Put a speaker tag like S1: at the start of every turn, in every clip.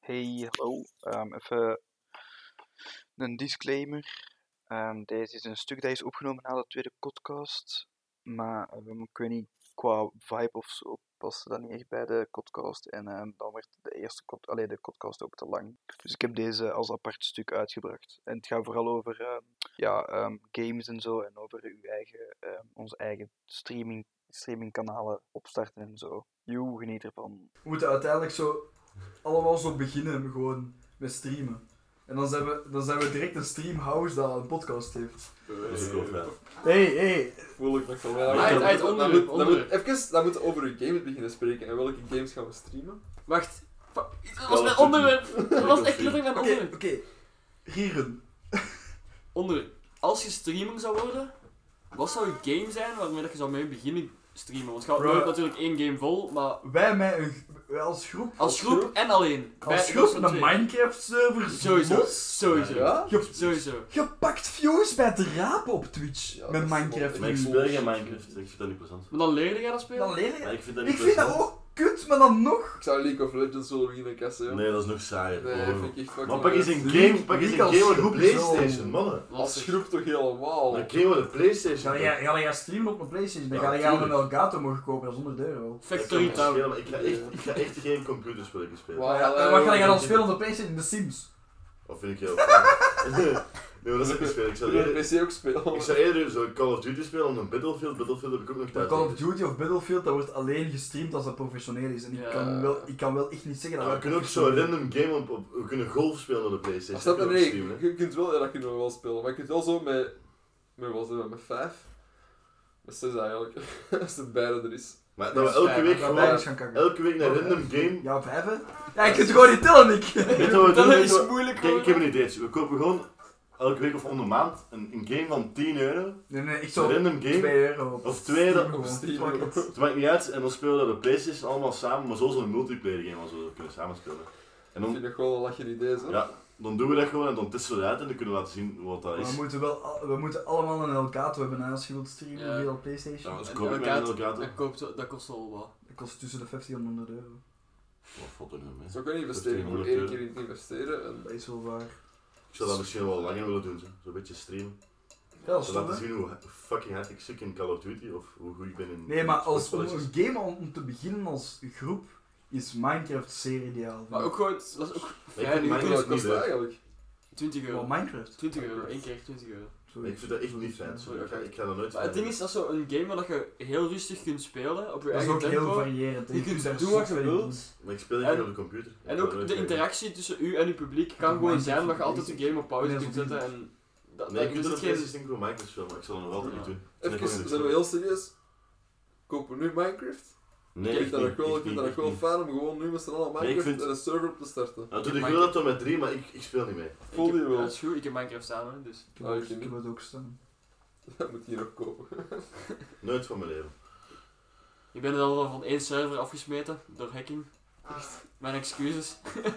S1: Hey, hallo. Ehm, even een disclaimer. Ehm, deze is een stuk dat is opgenomen na de tweede podcast. Maar ehm, ik weet niet, qua vibe of zo paste dat niet echt bij de podcast. En ehm, dan werd de eerste pod- allee, de podcast ook te lang. Dus ik heb deze als apart stuk uitgebracht. En het gaat vooral over ehm, ja, ehm, games en zo. En over uw eigen, ehm, onze eigen streaming, streamingkanalen opstarten en zo. Joe, geniet ervan.
S2: We moeten uiteindelijk zo allemaal zo beginnen gewoon met streamen. En dan zijn we, dan zijn we direct een streamhouse dat een podcast heeft.
S3: Dat
S4: is ook wel fijn.
S2: Hey, hey.
S3: Voel ik nog zo
S4: Ah,
S3: wel.
S4: hij- hij is
S3: Dan
S4: onder,
S3: moet- dan
S4: onder.
S3: moet- Even, dan moeten we over uw games beginnen spreken. En welke games gaan we streamen?
S4: Wacht. Fuck, Dat
S3: Call
S4: was
S3: of
S4: mijn
S3: Duty.
S4: onderwerp. Dat was
S3: of
S4: echt
S3: Duty.
S4: letterlijk mijn
S2: Oké, oké.
S4: onderwerp.
S2: Rieren.
S4: Onder. Als je streamer zou worden, wat zou je game zijn waarmee dat je zou mee beginnen streamen? Want je houdt
S2: Bruh.
S4: nooit natuurlijk één game vol, maar
S2: Wij met een, wij als groep.
S4: als groep en alleen. Bij-
S2: Als
S4: dat
S2: groep
S4: zijn
S2: een
S4: twee.
S2: Minecraft server.
S4: Sowieso. Sowieso.
S3: Ja?
S2: Je,
S4: Sowieso.
S2: je pakt views bij het rapen op Twitch.
S3: Ja, dat
S2: met
S3: is
S2: Minecraft.
S3: wel-
S5: Maar ik
S2: nu.
S5: speel geen Minecraft, ik vind dat niet plezant.
S4: Maar dan leerde jij dat
S2: Dan
S4: spelen?
S2: leer
S5: Maar
S2: je.
S5: ik vind dat niet
S2: Ik vind dat
S5: plezant.
S2: ook kut, maar dan nog.
S3: Ik zou League of Legends willen beginnen kassen.
S5: Nee, dat is nog saaier.
S3: nee
S5: Oh.
S3: dat vind ik echt fucking
S5: Maar pak eens
S3: leuk.
S5: een
S2: League-
S5: game, pak eens een
S2: League als
S5: game op de
S2: groep zo.
S5: Playstation, mannen.
S3: Als
S4: Lastig.
S3: groep toch helemaal.
S5: Een game op de Playstation.
S2: Ga jij, ga jij streamen op mijn PlayStation? Dan
S5: Ja,
S2: ga jij een
S5: tuurlijk.
S2: Elgato mogen kopen, dat is 100 euro.
S5: Dat kan
S4: Factory
S5: me schelen,
S4: Town.
S5: maar Ik ga echt, ik ga echt geen computerspelletjes spelen.
S3: Wauw,
S2: Maar ja,
S3: eh,
S2: en wat ga jij dan
S3: ik-
S2: spelen op de PlayStation? De Sims.
S5: Dat vind ik heel fijn. Nee, maar dat is ook niet spelen. Ik
S3: Ik
S5: zou
S3: wil een
S5: eerder,
S3: PC ook spelen.
S5: ik zou eerder zo Call of Duty spelen dan een Battlefield. Battlefield heb ik ook nog
S2: Maar
S5: thuis.
S2: Call of Duty of Battlefield, dat wordt alleen gestreamd als dat professioneel is. En ik,
S4: Ja.
S2: kan, wel, ik kan wel echt niet zeggen dat
S5: Ja, we
S2: dat
S5: kunnen ook zo'n
S2: professioneel
S5: random game op, op... We kunnen golf spelen op de Playstation.
S3: Snap je?
S5: Dat
S3: Nee,
S5: kunnen we ook
S3: je kunt wel, ja, dat kunnen we wel spelen. Maar je kunt wel zo met. met wat zijn we, met vijf? Met zes eigenlijk. Als het beide er is.
S5: streamen. Maar
S2: is.
S5: dat we elke week
S2: Dat wij
S5: gewoon...
S2: eens gaan kakken.
S5: Elke week een random game...
S2: Ja, vijf hè? Ja, ik kan het gewoon niet tellen, Nick.
S5: Weet je wat we doen?
S4: Dat
S5: Weet je wat-
S4: is moeilijk
S5: Kijk, ik heb
S4: hoor.
S5: een ideetje. We kopen gewoon elke week of om de maand een, een game van 10 euro.
S2: Nee, nee, ik
S5: Een
S2: zou
S5: random
S2: 2
S5: game.
S2: euro op.
S5: Of twee dat-
S2: Steam
S3: op
S2: gewoon.
S3: Steam.
S2: Fuck it.
S5: Het maakt niet uit. En dan spelen we dat op PlayStation allemaal samen. Maar zo zo'n multiplayer game als we dat kunnen samenspelen. En
S3: Ik vind
S5: dan,
S3: dat gewoon een lachje idee, zo.
S5: ja, dan doen we dat gewoon en dan testen we dat uit. En dan kunnen we laten zien wat dat
S2: Maar
S5: is.
S2: We moeten, wel, al- we moeten allemaal een Elgato hebben hè, als je wilt streamen
S4: Ja.
S2: via de PlayStation.
S5: Ja, dus
S4: En
S5: koop ik mijn
S4: elkaar-
S5: Elgato.
S4: Dat koopt- dat kost wel wat.
S2: Dat kost tussen de 50 en 100 euro.
S5: Wat valt er nu mee?
S3: Zo kan je investeren. Voor
S5: 300
S3: één
S5: euro.
S3: keer in investeren. En
S2: Dat is wel waar.
S5: Ik zou dat misschien wel langer willen doen. zo. Zo'n beetje streamen.
S2: Ja, dat is
S5: Zo
S2: tof,
S5: laten
S2: hè?
S5: zien hoe fucking hard ik suk in Call of Duty. Of hoe goed ik ben in...
S2: Nee, maar als, om
S5: sportspelletjes.
S2: een game om, om te beginnen als groep is Minecraft zeer ideaal.
S4: Maar ook gewoon, dat is ook
S5: vind
S4: vrij
S3: Hoeveel
S5: Minecraft-
S3: dat
S4: duur.
S5: is niet
S3: kost
S5: leuk.
S3: dat eigenlijk?
S4: 20
S2: Maar
S4: euro.
S2: Minecraft.
S4: 20 euro, één keer 20 euro.
S2: Sorry.
S5: Ik vind dat echt niet fijn. sorry. Ik ga, ik ga dat nooit
S4: Maar het ding is, dat is zo'n game waar dat je heel rustig kunt spelen op je
S2: Dat is
S4: eigen
S2: ook heel
S4: tempo.
S2: variërend. hè.
S4: Je kunt
S2: daar
S4: doen wat
S2: zoveel
S4: je
S2: in
S4: wilt.
S5: Maar ik speel
S4: En-
S5: echt op de computer. Ik
S4: En
S5: ga dat
S4: ook
S5: nooit
S4: de
S5: doen.
S4: interactie tussen u en uw publiek kan
S2: Ja,
S4: gewoon
S2: maar
S4: zijn dat
S2: dat
S4: je
S2: is
S4: altijd de game op pauze
S2: niet
S4: kunt
S2: zo
S4: zetten en dat,
S5: Nee,
S4: dat
S5: ik
S4: is
S5: wil
S4: het
S5: dat
S4: geen...
S5: PlayStation denk ik voor Minecraft spelen, maar ik zal dat nog altijd
S4: Ja.
S5: niet doen.
S3: Even, zijn we heel serieus? Kopen we nu Minecraft?
S5: Nee,
S3: ik vind dat ook
S5: niet,
S3: wel, ik
S5: niet,
S3: vind dat ook
S5: ik
S3: wel
S5: niet.
S3: fijn om gewoon nu met z'n allen
S5: Nee, ik
S3: Minecraft
S5: vind-
S3: en een server op te starten.
S5: Nou, toen
S4: Ik
S5: ik
S4: heb
S5: wil dat dan met drie, maar ik, ik speel niet mee.
S4: Ik
S3: Voel
S4: heb-
S3: je wel.
S4: Dat is goed, ik heb Minecraft samen, dus...
S2: Ik heb ook-
S3: Ah, ik
S2: Ik heb
S3: niet.
S2: het ook staan.
S3: Dat moet hier ook kopen.
S5: Nooit van mijn leven.
S4: Ik ben er al van één server afgesmeten, door hacking. Mijn excuses. Maar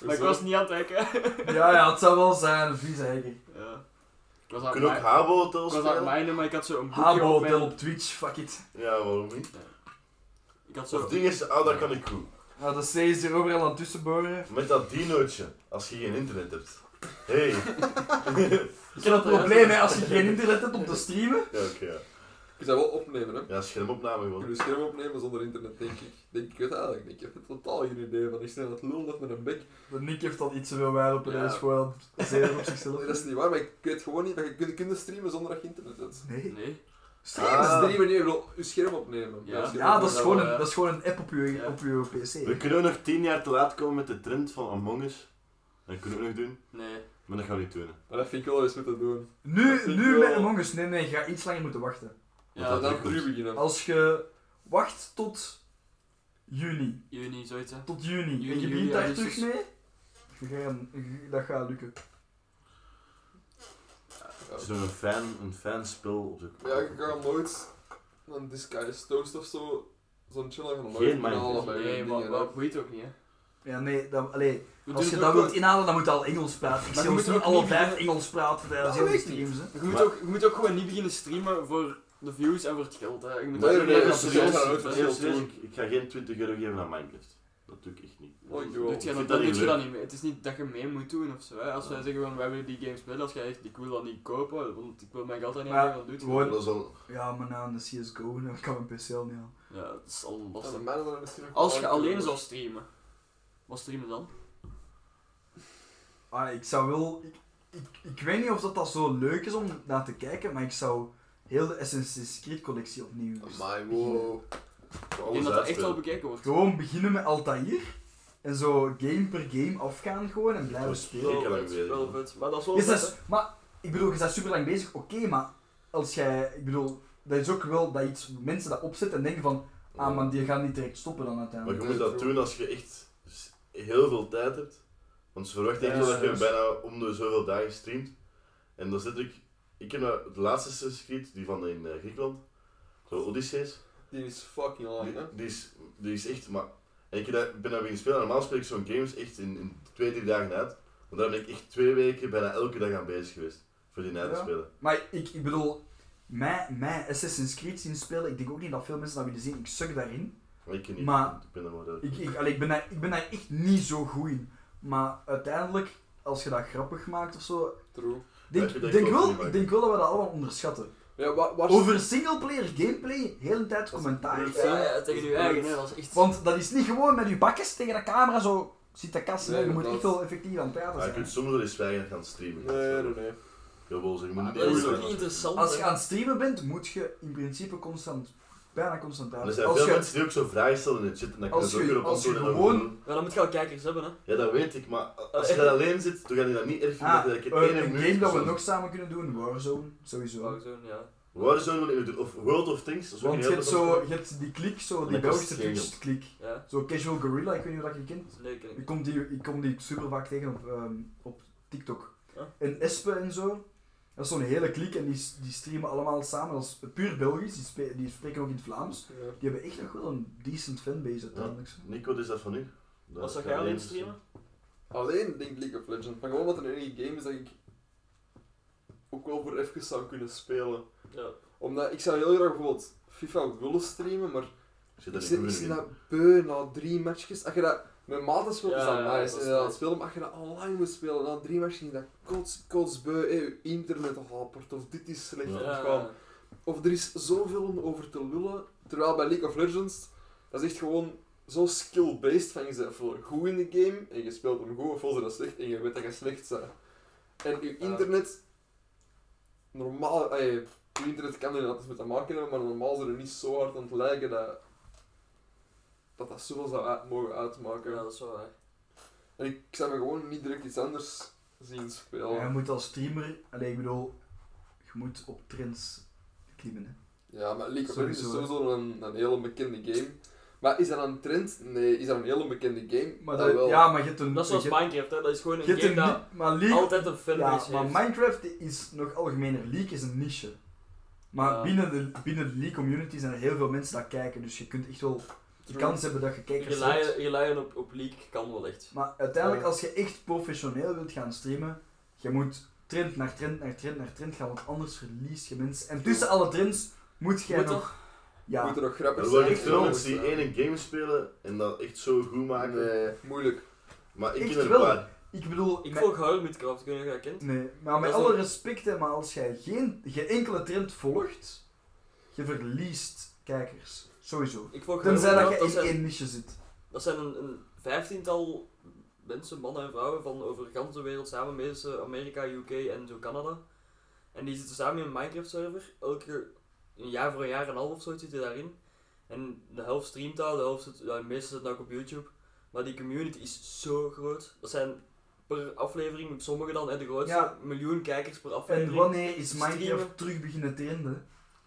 S4: ik
S3: Hoezo?
S4: was niet aan het hacken.
S2: Ja, ja, het zou wel zijn, een vieze hacker.
S4: Ja. Ik was aan
S5: We
S3: Ah,
S4: het
S5: kunnen ook
S4: mi-
S5: Habo Hotel
S4: ik was aan het
S5: spelen.
S4: minen, maar ik had zo een boekje
S2: Habo
S4: op
S2: Hotel
S4: mijn...
S2: op Twitch, fuck it.
S5: Ja, waarom niet?
S4: Ik had
S5: Of
S4: zo...
S5: het ding is, ah, dat kan ik goed.
S2: Nou, dat C is hier overal aan het tussenboren.
S5: Met dat dinootje, als je geen internet hebt. Hé.
S2: Ik heb dat probleem, hè, als je geen internet hebt om te streamen.
S5: Ja, oké. ja.
S3: Je zou wel opnemen, hè?
S5: Ja, schermopname
S3: Je kunt
S5: gewoon.
S3: een scherm opnemen zonder internet, denk ik. Denk ik het eigenlijk niet. Ik heb totaal geen idee van. Ik snel dat lul dat met een bek.
S2: De Nick heeft al iets te veel waar op en
S3: Ja.
S2: hij is gewoon zeer op zichzelf.
S3: Nee, dat is niet waar, maar ik weet gewoon niet dat je kunt, kunt streamen zonder dat je internet hebt.
S2: Nee.
S4: Nee.
S2: Streamen?
S5: Ah.
S3: Streamen, nee, gewoon je scherm opnemen.
S4: Ja.
S3: je scherm
S2: Ja, dat is,
S3: opnemen.
S2: gewoon een, dat is gewoon een app op je,
S4: Ja.
S2: op je
S5: We
S2: PC.
S5: kunnen ook nog tien jaar te laat komen met de trend van Among Us. Dat kunnen we ook nog doen,
S4: Nee.
S5: maar dat gaan we niet doen. hè.
S3: Maar dat vind ik wel eens moeten doen. Dat
S2: Nu,
S3: vind
S2: nu
S3: ik wel-
S2: met Among Us, nee, nee, je gaat iets langer moeten wachten.
S4: Ja,
S3: Ja,
S5: dat
S3: dan
S5: lukt
S3: nu
S5: ons.
S3: beginnen.
S2: Als je wacht tot juni,
S4: Juni, zoiets hè.
S2: tot juni.
S4: Juni,
S2: en je
S4: juli,
S2: begint daar
S4: augustus.
S2: terug mee. Je gaat- je- Dat gaat lukken.
S3: Ja.
S5: Het is nog een fan, een fan spel op de
S3: Ja, ik kan nooit een Disguise Toast of zo, zo'n channel gaan nooit
S5: Geen
S3: kunnen
S5: Minecraft.
S3: halen bij
S4: Nee,
S3: hun
S4: maar
S3: dingen,
S4: maar
S3: hè.
S4: dat boeit ook niet hè.
S2: Ja, nee, dat, allee,
S4: We
S2: als
S4: doen
S2: je
S4: het
S2: dat
S4: ook
S2: wilt
S4: wel-
S2: inhalen, dan moet je al Engels praten. Ik
S4: Maar
S2: zie
S4: je
S2: ons
S4: moet
S2: niet
S4: ook
S2: alle
S4: niet
S2: vijf
S4: beginnen-
S2: Engels praten
S3: Dat
S2: tijdens heel de
S3: weet ik niet.
S2: streams. Hè.
S4: Je moet,
S5: Maar-
S4: ook, je moet ook gewoon niet beginnen streamen voor de views en voor het geld. Hè. Je moet
S3: Nee,
S4: ook
S3: nee,
S4: niet
S3: nee,
S4: gaan
S3: dat is
S4: streamen.
S3: serieus.
S5: Heel serieus, ik, ik ga geen 20 euro geven aan Minecraft. Dat natuurlijk echt niet.
S3: Oh, ik doe wel.
S4: Doet jij
S5: Ik
S4: dat, dat
S5: vind dat niet
S4: doet je
S5: leuk.
S4: dat niet mee. Het is niet dat je mee moet doen of zo. Hè. Als wij zeggen van wij willen die games spelen, als jij zegt ik wil dat niet kopen, want ik wil mijn geld daar niet aan
S2: Maar-
S4: geven, dan doet je
S2: Gewoon-
S4: dat.
S5: Dat is al...
S2: Ja, maar na de CSGO dan kan mijn PC al niet aan.
S4: niet. Ja, dat is al
S3: Dat
S4: lastig.
S3: is mij dan misschien nog
S4: Als je
S3: wel
S4: alleen
S3: kunnen.
S4: zou streamen, wat streamen dan?
S2: Ah, ik zou wel... Ik, ik, ik weet niet of dat, dat zo leuk is om naar te kijken, maar ik zou heel de Assassin's Creed collectie opnieuw
S3: Amai, wow.
S4: Ik
S5: Alles
S4: denk dat dat echt wel
S5: uitspelen.
S4: bekeken wordt.
S2: Gewoon beginnen met Altair. En zo game per game afgaan gewoon en blijven
S5: Dat is
S2: spelen.
S5: wel
S3: Wel vet,
S5: lang bezig.
S3: wel vet. Maar dat is wel
S2: Is
S3: vet,
S2: dat,
S3: hè.
S2: maar ik bedoel, je bent super lang bezig, oké, maar als jij, ik bedoel, dat is ook wel dat iets mensen dat opzetten en denken van, ah man, die gaan niet direct stoppen dan
S5: Maar
S2: uiteindelijk.
S5: je moet dat doen als je echt s- heel veel tijd hebt. Want ze verwachten
S2: Ja,
S5: echt wel dat je
S2: juist.
S5: bijna om de zoveel dagen streamt. En dan zit ik... Ik heb nou de laatste Assassin's Creed, die van in eh, Griekenland. Zo Odysseus.
S3: Die is fucking
S4: Oh,
S3: lang, hè.
S5: Die, die is, die is echt... Maar, en ik heb dat- ben daar beginnen spelen. Normaal speel ik zo'n games echt in, in twee, drie dagen uit. Want daar ben ik echt twee weken bijna elke dag aan bezig geweest. Voor die na te
S2: Ja.
S5: spelen.
S2: Maar ik, ik bedoel, mij, mij Assassin's Creed zien spelen, ik denk ook niet dat veel mensen dat willen zien, ik suk daarin.
S5: Maar ik ken niet.
S2: Maar-
S5: ik ben daar wel
S2: Ik, ik, allee, ik, ben daar, ik ben daar echt niet zo goed in. Maar uiteindelijk, als je dat grappig maakt of zo,
S3: True.
S2: denk,
S5: Ja, ik denk
S2: denk,
S5: wel
S2: wel,
S5: prima.
S2: ik denk wel dat we dat allemaal onderschatten.
S3: Ja, wa- waar...
S2: Over singleplayer gameplay, heel de tijd commentaar.
S3: Ja, ja,
S4: Ja, tegen
S3: tegen
S4: je
S3: uw eigen,
S4: eigen,
S3: hè,
S4: dat is echt.
S2: Want dat is niet gewoon met je bakjes tegen de camera zo zit te kassen.
S3: Nee,
S2: je moet
S3: dat-
S2: echt wel effectief aan het praten
S5: Maar je
S2: zijn.
S5: kunt soms wel eens zwijgen gaan streamen.
S3: Nee, nee, nee.
S5: Jawel, zeg, je moet niet
S4: Dat
S5: heel
S4: is
S5: veel
S4: ook
S5: gaan
S4: niet
S5: spelen.
S4: interessant.
S2: Als
S4: hè.
S2: je aan het streamen bent, moet je in principe constant, bijna constant
S5: Maar Er
S2: praten.
S5: zijn
S2: Als
S5: veel
S2: je,
S5: mensen die ook zo vragen stellen in de chat en dan kunnen
S2: als
S5: ze ook
S2: je-
S5: weer op
S2: als je
S5: antwoorden. en dan
S2: gewoon-
S5: doen.
S4: Ja, dan moet je al kijkers hebben, hè.
S5: Ja, dat weet ik, maar als
S4: Eh,
S5: je daar alleen zit, dan ga je dat niet erg vinden
S2: ah,
S5: dat ik in
S2: eh,
S5: één
S2: een
S5: minuut...
S2: game dat we
S5: zo-
S2: nog samen kunnen doen, Warzone, sowieso.
S4: Warzone, ja.
S5: Warzone wil ik doen, of World of Things, dat is ook
S2: Want
S5: een
S2: je
S5: heel
S2: hebt,
S5: interessant
S2: zo, je hebt die klik, zo,
S5: En
S2: die
S5: dat kost
S2: Belgische
S5: geen
S2: Twitch-klik.
S4: Ja,
S2: Zo Casual Gorilla, ik weet niet of dat je kent.
S4: dat is leuk, hè.
S2: Ik kom die, ik kom die super vaak tegen op, ehm, op TikTok.
S4: Ja.
S2: En Espen en zo. Dat is zo'n hele klik en die, die streamen allemaal samen. Dat is puur Belgisch, die, spe- die spreken ook in het Vlaams.
S3: Ja.
S2: Die hebben echt nog wel een decent fanbase uiteindelijk. zo.
S5: Nico, wat is dat van u? Dat
S4: Wat zou
S5: ga
S4: jij
S5: je
S4: alleen
S5: zien.
S4: streamen?
S3: Alleen denk ik League of Legends, maar gewoon wat een enige game is dat ik ook wel voor even zou kunnen spelen.
S4: Ja.
S3: Omdat ik zou heel graag bijvoorbeeld FIFA willen streamen, maar
S5: Ik Zit
S3: ik
S5: daar
S3: zit, ik
S5: niet
S3: zit
S2: nou-
S5: in.
S3: dat beu na drie matchjes. Als je dat met maten speelt, is
S4: Ja,
S3: dat
S4: ja,
S3: nice.
S4: dat is
S3: en dat
S4: nice.
S3: spelen, maar als je dat online moet spelen, na drie matches is dat kots, kotsbeu. Hé, je internet hapert, of dit is slecht.
S5: Ja.
S3: of het kwam. Of er is zoveel om over te lullen. Terwijl bij League of Legends, dat is echt gewoon zo skill-based van je bent voor goed in de game en je speelt hem goed of voor ze dat slecht en je weet dat je slecht bent. En je internet, normaal, ey, je internet kan er inderdaad iets mee te maken hebben, maar normaal zou er niet zo hard aan het lijken dat dat, dat zoveel zou uit, mogen uitmaken.
S4: Ja, dat is wel waar.
S3: En ik zou me gewoon niet direct iets anders zien spelen.
S2: Jij
S3: Ja,
S2: moet als streamer, alleen ik bedoel, je moet op trends klimmen. Hè.
S3: maar League of Legends is
S2: Sowieso, hè.
S3: sowieso een, een hele bekende game. Maar is dat een trend? Nee, is dat een hele bekende game?
S2: Maar
S3: Dat
S2: dat-
S3: wel.
S2: Eh, ja, maar je hebt een.
S4: Dat is zoals
S2: je hebt-
S4: Minecraft, hè. Dat is gewoon
S2: je
S4: een
S2: hebt
S4: game
S2: een
S4: dat
S2: ni- maar League,
S4: altijd een
S2: ja,
S4: fanbase
S2: maar
S4: heeft.
S2: Minecraft is nog algemener. League is een niche. Maar
S4: Ja.
S2: binnen, de, binnen de League community zijn er heel veel mensen dat kijken. Dus je kunt echt wel de
S3: True.
S2: kans hebben dat je kijkers hebt.
S4: Relyen- Relyen op, op leak kan wel echt.
S2: Maar uiteindelijk,
S3: Ja.
S2: als je echt professioneel wilt gaan streamen, je moet trend naar trend naar trend naar trend gaan, want anders verlies je mensen. En tussen alle trends moet jij
S4: Moet
S2: nog.
S4: toch?
S2: Ja,
S3: Moet er nog grappig
S5: Er
S3: zijn.
S5: worden echt veel
S2: wel.
S5: mensen die één game spelen en dat echt zo goed maken.
S3: Nee, moeilijk.
S5: Maar ik
S2: Echt
S5: ken er een
S2: wel.
S5: paar.
S2: ik bedoel.
S4: Ik
S2: met-
S4: volg Harold Minecraft, ik weet niet of je dat kent.
S2: Nee, maar met
S4: Dat is
S2: alle
S4: een-
S2: respect, hè, maar als jij geen, geen enkele trend volgt, je verliest kijkers. Sowieso.
S4: Ik volg Harold
S2: Tenzij dat
S4: Minecraft,
S2: je
S4: dat
S2: in
S4: zijn,
S2: één niche zit.
S4: dat zijn een, een vijftiental mensen, mannen en vrouwen, van over heel de wereld samen, meestal Amerika, UK en zo Canada. En die zitten samen in een Minecraft-server. Elke een jaar voor een jaar en een half of zo zitten daarin. En de helft streamt daar, de helft zit, ja, de meeste zitten ook op YouTube. Maar die community is zo groot. Dat zijn per aflevering, sommigen dan, hè, de grootste,
S2: Ja.
S4: miljoen kijkers per aflevering.
S2: En wanneer is
S4: Streamen.
S2: Minecraft terug beginnen trenden?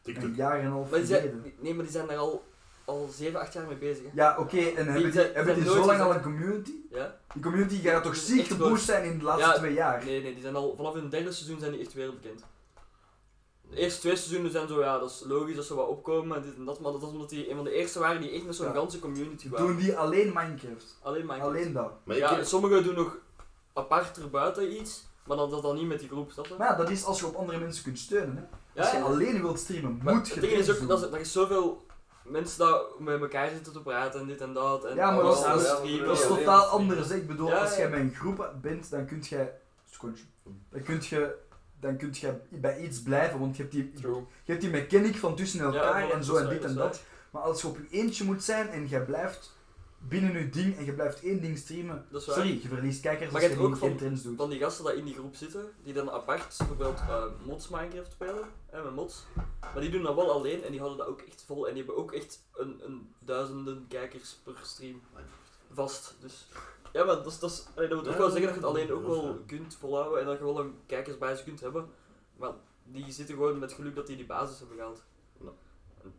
S2: Een
S5: TikTok.
S2: jaar en een half
S4: Maar die
S2: geleden.
S4: zijn, nee, maar die zijn daar al, al 7, 8 jaar mee bezig. Hè?
S2: Ja, oké, en hebben die,
S4: zijn-
S2: hebben die
S4: zijn
S2: zo
S4: nooit
S2: lang al
S4: gezet.
S2: een community?
S4: Ja?
S2: Die community gaat toch
S4: Dat is
S2: ziek
S4: echt
S2: te
S4: groot.
S2: boost zijn in de laatste
S4: Ja,
S2: twee jaar.
S4: Nee, nee, die zijn al vanaf hun derde seizoen zijn die echt wereldbekend. De eerste twee seizoenen zijn zo, ja, dat is logisch dat ze wat opkomen en dit en dat, maar dat was omdat die een van de eerste waren die echt met zo'n
S2: Ja.
S4: ganse community waren.
S2: Doen die alleen Minecraft.
S4: Alleen Minecraft.
S2: Alleen dat.
S5: Maar ik
S4: Ja,
S5: ken-
S4: en sommigen doen nog apart erbuiten iets, maar dan, dat dan niet met die groep, snap je?
S2: Maar ja, dat is als je op andere mensen kunt steunen. Hè.
S4: Ja,
S2: Als je
S4: ja.
S2: alleen wilt streamen,
S4: Maar
S2: moet
S4: het
S2: je
S4: ding is
S2: trends doen.
S4: ook, dat is, er is zoveel mensen dat met elkaar zitten te praten en dit en dat. En
S2: Ja, maar
S4: allemaal
S2: dat is-
S4: samen
S2: dat
S3: is-
S4: streamen.
S2: Dat is
S3: Ja,
S2: totaal
S3: ja.
S2: anders. hè. Ik bedoel,
S4: Ja,
S2: als jij
S4: ja.
S2: bij een groep bent, dan kun jij. Skontje. Dan kun je. Dan kun je bij iets blijven, want je hebt die,
S3: True.
S2: je hebt die mechanic van tussen
S4: Ja,
S2: elkaar
S4: voilà,
S2: en zo
S4: dat
S2: en
S4: is waar,
S2: dit en
S4: is
S2: dat. Maar als je op je eentje moet zijn en je blijft binnen je ding en je blijft één ding streamen.
S4: Dat is waar.
S2: Sorry, je verliest kijkers
S4: Maar
S2: als je
S4: je hebt
S2: geen
S4: ook
S2: geen trends doet.
S4: Van die gasten die in die groep zitten, die dan apart bijvoorbeeld eh, mods Minecraft spelen, hè, met mods. Maar die doen dat wel alleen en die hadden dat ook echt vol. En die hebben ook echt een, een duizenden kijkers per stream vast. Dus ja, maar dat, is- dat, is- allee, dat moet ook
S5: Ja,
S4: wel
S5: ja,
S4: zeggen dat je het
S5: ja,
S4: alleen
S5: dat
S4: ook
S5: is
S4: wel
S5: waar.
S4: kunt volhouden en dat je wel een kijkersbasis kunt hebben. Maar die zitten gewoon met geluk dat die die basis hebben gehaald.
S5: Ja.
S4: En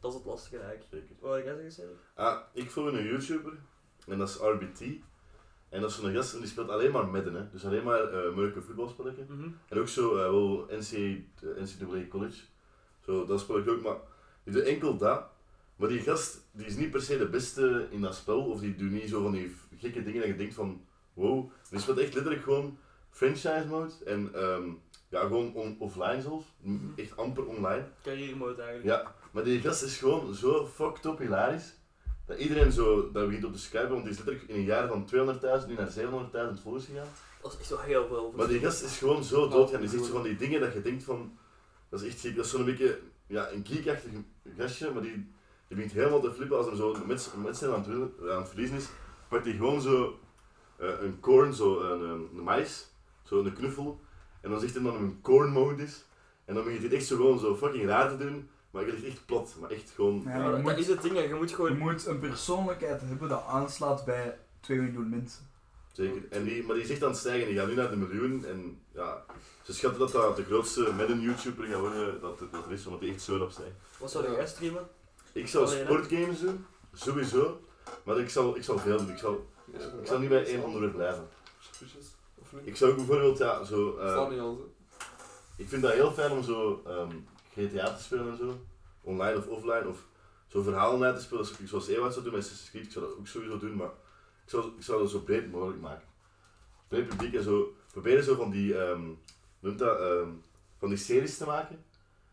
S4: Dat is het lastige eigenlijk.
S5: Zeker.
S4: Wat had jij zeggen, Cedric?
S5: Ah, ik volg een YouTuber, en dat is RBT. En dat is zo'n gast, en die speelt alleen maar midden, hè. Dus alleen maar eh moeilijke voetbalspelletjes.
S4: Mhm.
S5: En ook zo, eh, wel NCAA, eh, NCAA College. Zo, dat speel ik ook, maar die doet enkel dat. Maar die gast, die is niet per se de beste in dat spel, of die doet niet zo van die gekke dingen dat je denkt van, wow. Die speelt echt letterlijk gewoon franchise mode, en ehm, ja, gewoon on- offline zelfs. M- Echt amper online.
S4: Carrière mode eigenlijk.
S5: Ja, maar die gast is gewoon zo fucked up hilarisch. Dat iedereen zo, dat begint op te skypen, want die is letterlijk in een jaar van 200.000 nu naar 700.000 volgers gegaan.
S4: Dat is echt wel heel veel.
S5: Maar die gast is gewoon zo doodgaan. Die zegt zo van die dingen dat je denkt van... Dat is echt gek. Dat is zo'n beetje ja, een geekachtig gastje, maar die, die begint helemaal te flippen als hem zo met, met zijn aan het, winnen- aan het verliezen is. Pakt hij gewoon zo eh, een corn, zo een, eh, een mais, zo een knuffel. En dan zegt hij dat hem een corn mode is. En dan begint hij het echt zo gewoon zo fucking raar te doen. Maar je ligt echt plat, maar echt gewoon...
S2: Ja,
S5: ja,
S4: Ja,
S2: je
S4: dat
S2: moet-
S4: is het ding, hè. je moet
S2: Je
S4: gewoon
S2: moet een persoonlijkheid hebben dat aanslaat bij 2 miljoen mensen.
S5: Zeker. En die, maar die zegt aan het stijgen, die gaat nu naar de miljoen. En ja, ze schatten dat dat de grootste met een YouTuber gaat worden dat, dat er is, omdat die echt zo op zijn.
S4: Wat zou jij streamen?
S5: Ik zou
S4: Alleen, hè?
S5: sportgames doen, sowieso. Maar ik zal, ik zal veel doen. Ik zal, ik zal niet bij één onderwerp blijven.
S3: Suspicious, Of niet?
S5: Ik zou ook bijvoorbeeld, ja, zo... eh,
S3: Sla niet aan, ze.
S5: ik vind dat heel fijn om zo ehm, GTA te spelen en zo. Online of offline. Of zo verhalen uit te spelen zoals- zoals Ewout zou doen met Assassin's Creed. Ik zou dat ook sowieso doen, maar ik zou, ik zou dat zo breed mogelijk maken. Breed publiek en zo. Proberen zo van die, ehm, noemt dat, ehm, van die series te maken.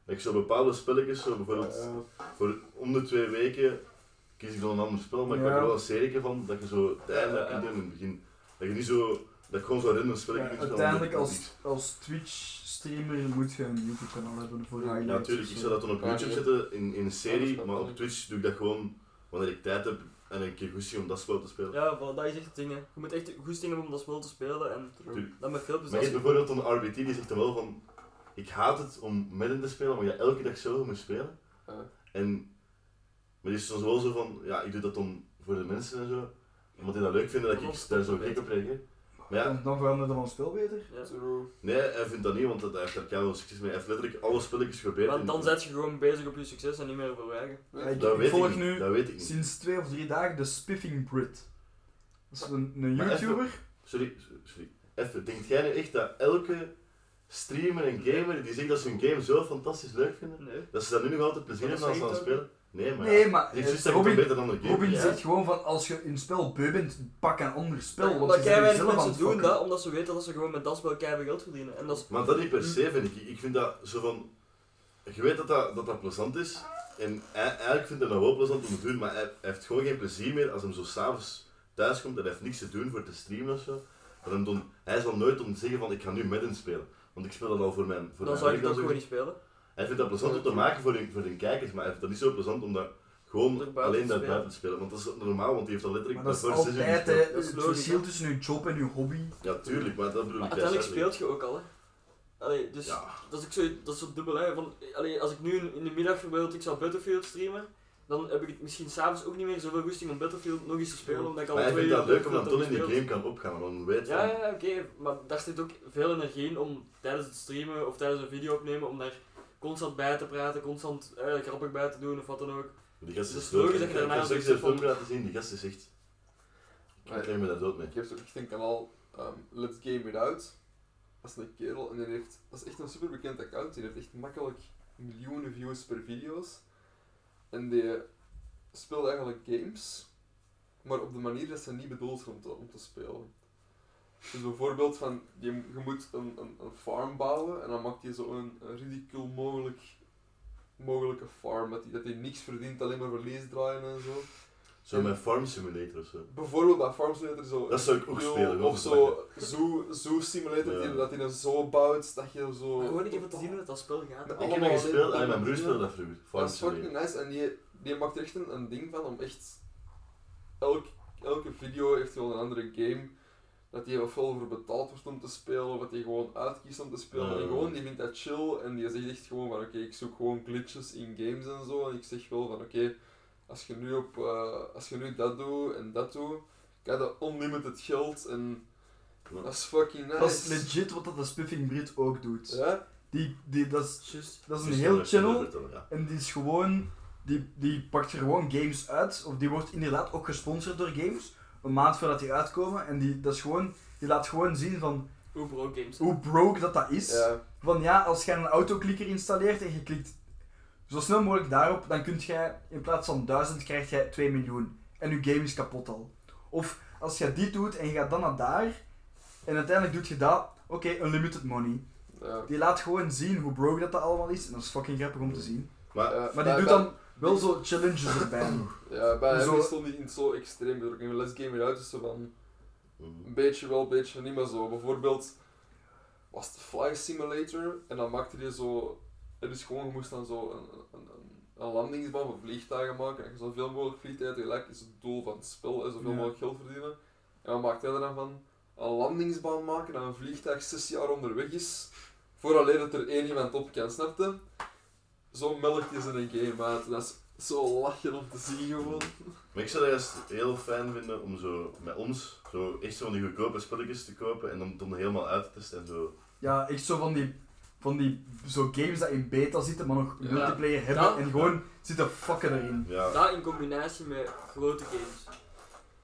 S5: Dat ik zo bepaalde spelletjes, zo bijvoorbeeld
S3: Eh,
S5: voor om de twee weken kies ik dan een ander spel, maar ik maak
S2: Ja.
S5: er wel een serie van dat je zo het einde
S4: Ja, ja, ja.
S5: kunt doen in het begin. Dat je niet zo, dat ik gewoon zo random spelletje kunt spelen.
S2: Uiteindelijk,
S5: omdat-
S2: als, als Twitch-streamer moet je een YouTube-kanaal hebben voor highlights.
S5: Ja, natuurlijk. Ik
S2: of
S5: zou
S2: zo.
S5: dat dan op
S3: Ja,
S5: YouTube
S3: ja.
S5: zetten in, in een
S3: Ja, dat
S5: serie,
S3: is
S5: maar op
S3: wel
S5: Twitch doe ik dat gewoon wanneer ik tijd heb en een keer goestie om dat spel te spelen.
S4: Ja, voilà, dat is echt het ding. Hè. Je moet echt goesting hebben om dat spel te spelen en
S5: Tuurlijk.
S4: dan met filmpjes.
S5: maar
S4: als
S5: je
S4: je-
S5: hebt bijvoorbeeld een RBT die zegt dan wel van, ik haat het om midden te spelen, omdat je elke dag zo moet spelen.
S3: Ja.
S5: En, maar die is soms wel zo van, ja, ik doe dat dan voor de mensen en zo, omdat die dat leuk vinden dat
S4: Maar
S5: ik
S4: dat
S5: daar
S4: is
S5: zo
S4: beter.
S5: gek op reageer. Maar ja,
S2: Dan, dan veranderde van spel beter.
S4: Ja.
S3: True.
S5: Nee, hij vindt dat niet, want hij heeft daar keihard succes mee. Hij heeft letterlijk alle spelletjes geprobeerd.
S4: Want dan
S5: en-
S4: zet je gewoon bezig op je succes en niet meer voor je eigen.
S2: Ja, ik,
S5: dat
S2: ik
S5: weet
S2: volg
S5: ik
S2: nu
S5: Niet. Dat weet ik niet.
S2: sinds twee of drie dagen de Spiffing Brit. Dat is een, een
S5: Maar even-
S2: YouTuber.
S5: Sorry, sorry. Even, denkt jij nu echt dat elke streamer en gamer die zegt dat ze hun game zo fantastisch leuk vinden,
S4: Nee.
S5: dat ze daar nu nog altijd plezier
S4: Maar
S5: hebben
S4: dat
S5: als ze aan het
S4: zeg je
S5: spelen? Nee, maar...
S2: Nee, maar
S5: Die
S2: eh,
S5: zegt dat je
S2: Robin,
S5: toch beter dan de game.
S2: Robin
S5: bent?
S4: Ja.
S2: zegt gewoon van als je in spel beu bent, pak een ander spel. Want
S4: Maar
S2: ze zijn
S4: kei weinig
S2: zelf aan het
S4: mensen doen
S2: fokken.
S4: dat omdat ze weten dat ze gewoon met dat spel keihard geld verdienen. En dat is...
S5: Maar dat niet per se, vind ik. Ik vind dat zo van... Je weet dat dat, dat, dat plezant is. En hij- eigenlijk vindt hij dat wel plezant om te doen, maar hij, hij heeft gewoon geen plezier meer als hij zo s'avonds thuis komt en hij heeft niks te doen voor te streamen of zo. Dat hem dan, hij zal nooit om te zeggen van ik ga nu midden spelen. Want ik speel dat al voor mijn
S4: dan
S5: voor mijn
S4: zou ik
S5: werk
S4: het ook
S5: en zo.
S4: gewoon niet spelen.
S5: Hij vindt dat plezant om te maken voor hun, voor hun kijkers, maar hij vindt dat niet zo plezant om dat
S4: Om er
S5: gewoon
S4: buiten
S5: alleen
S4: te
S5: daar
S4: spelen.
S5: buiten te spelen. Want dat is normaal, want die heeft al
S2: Maar
S5: letterlijk
S2: dat is
S5: daarvoor zes uur
S2: altijd hè,
S5: gespeeld.
S4: Dat is
S2: het
S4: logisch,
S2: verschil
S4: hè.
S2: tussen je job en je hobby.
S5: Ja, tuurlijk, maar dat bedoel
S4: Maar
S5: ik
S4: uiteindelijk
S5: juist eigenlijk.
S4: speelt je ook al, hè. Allee, dus
S5: Ja.
S4: dat is ook zo, dat is zo dubbel, hè. Van, allee, als ik nu in, in de middag bijvoorbeeld, ik zou Battlefield streamen, dan heb ik het misschien s'avonds ook niet meer zoveel goesting om Battlefield nog eens te spelen, omdat ik al
S5: Maar hij
S4: twee
S5: vindt
S4: uur
S5: dat leuk om dan
S4: Battlefield
S5: toch in die
S4: speel.
S5: game kan opgaan, want dan weet
S4: Ja,
S5: van...
S4: ja ja, oké, maar daar zit ook veel energie in om tijdens het streamen of tijdens een video opnemen, om daar constant bij te praten, constant eh, grappig bij te doen of wat dan ook.
S5: Die gast
S4: Dus
S5: is
S4: logisch
S5: dood.
S4: dat je
S5: Ik
S4: daarna
S5: heb
S4: zoiets
S5: straks een
S4: hebt van-
S5: filmpje laten zien, die gast is echt... Ik
S3: Nee.
S5: krijg me daar dood mee.
S3: Ik heb zo'n echt een kanaal, ehm, Let's Game It Out. Dat is een kerel en die heeft, dat is echt een super bekend account. Die heeft echt makkelijk miljoenen views per video's. En die speelt eigenlijk games, maar op de manier dat ze niet bedoeld zijn om te, om te spelen. Dus bijvoorbeeld van, je, je moet een, een, een farm bouwen en dan maakt je zo'n een, een ridicule mogelijk mogelijke farm. Dat hij dat die niks verdient, alleen maar verlies draaien en zo.
S5: Zo met Farm Simulator of zo.
S3: Bijvoorbeeld bij Farm Simulator zo.
S5: Dat zou ik ook
S3: Yo,
S5: spelen.
S3: Of zo Zoo, zoo Simulator,
S5: Ja.
S3: die, dat hij hem zo bouwt dat je zo.
S4: Maar gewoon even te zien hoe dat, dat spel gaat.
S3: Ik
S5: Ik heb
S3: allemaal
S5: dat gespeeld
S3: dit-
S5: en mijn broer speelde dat vroeger. Farm
S3: Dat is
S5: Simulator.
S3: fucking nice en die, die maakt er echt een, een ding van om echt. Elk, elke video heeft wel een andere game. Dat die ofwel voor betaald wordt om te spelen, of dat die gewoon uitkiest om te spelen.
S5: Ja.
S3: En gewoon, die vindt dat chill en die zegt echt gewoon van oké, ik zoek gewoon glitches in games en zo. En ik zeg wel van oké, als, je nu op, eh, als je nu dat doet en dat doet, krijg je unlimited geld en
S5: Ja.
S3: dat is fucking nice.
S2: Dat is legit wat dat de Spiffing Brit ook doet.
S3: Ja?
S2: Die, die, dat, is,
S4: Just.
S2: dat is een
S5: Dus
S2: heel
S5: dat-
S2: channel
S5: dat- ja.
S2: en die is gewoon... Die, die pakt er gewoon games uit, of die wordt inderdaad ook gesponsord door games, een maand voordat die uitkomen. En die, dat is gewoon, die laat gewoon zien van
S4: Hoe bro games.
S2: hoe broke dat dat is.
S3: Ja.
S2: Van ja, als jij een autoklikker installeert en je klikt zo snel mogelijk daarop, dan kunt jij in plaats van 1000 krijg jij 2 miljoen. En je game is kapot al. Of als jij dit doet en je gaat dan naar daar, en uiteindelijk doet je dat, oké, unlimited money.
S3: ja.
S2: Die laat gewoon zien hoe broke dat, dat allemaal is. En dat is fucking grappig om te zien.
S5: Maar
S3: Ja,
S2: Maar die doet
S3: bij-
S2: dan wel zo challenges erbij nog.
S3: Ja, bij hem
S2: Zo-
S3: is het nog niet in zo extreem druk. In Let's Game It Out is dus zo van
S5: mm,
S3: een beetje wel, een beetje niet, maar zo. Bijvoorbeeld was het Fly Simulator en dan maakte hij zo. Het is gewoon, je moest dan zo een, een, een, een landingsbaan voor vliegtuigen maken. En je zoveel mogelijk vliegtuigen tegelijk is het doel van het spel, en zoveel
S2: Ja.
S3: mogelijk geld verdienen. En wat maakt hij er dan van? Een landingsbaan maken dat een vliegtuig zes jaar onderweg is, vooraleer dat er één iemand op kan, snapte? Zo melkt is in een game uit. Dat is zo lachen om te zien gewoon.
S5: maar ik zou dat juist heel fijn vinden om zo met ons zo echt zo van die goedkope spelletjes te kopen en dan, dan helemaal uit te testen en zo.
S2: Ja, echt zo van die, van die zo games dat in beta zitten, maar nog
S3: Ja.
S2: multiplayer hebben.
S4: Dat-
S2: en gewoon zitten fucken erin.
S5: Ja,
S4: Dat in combinatie met grote games.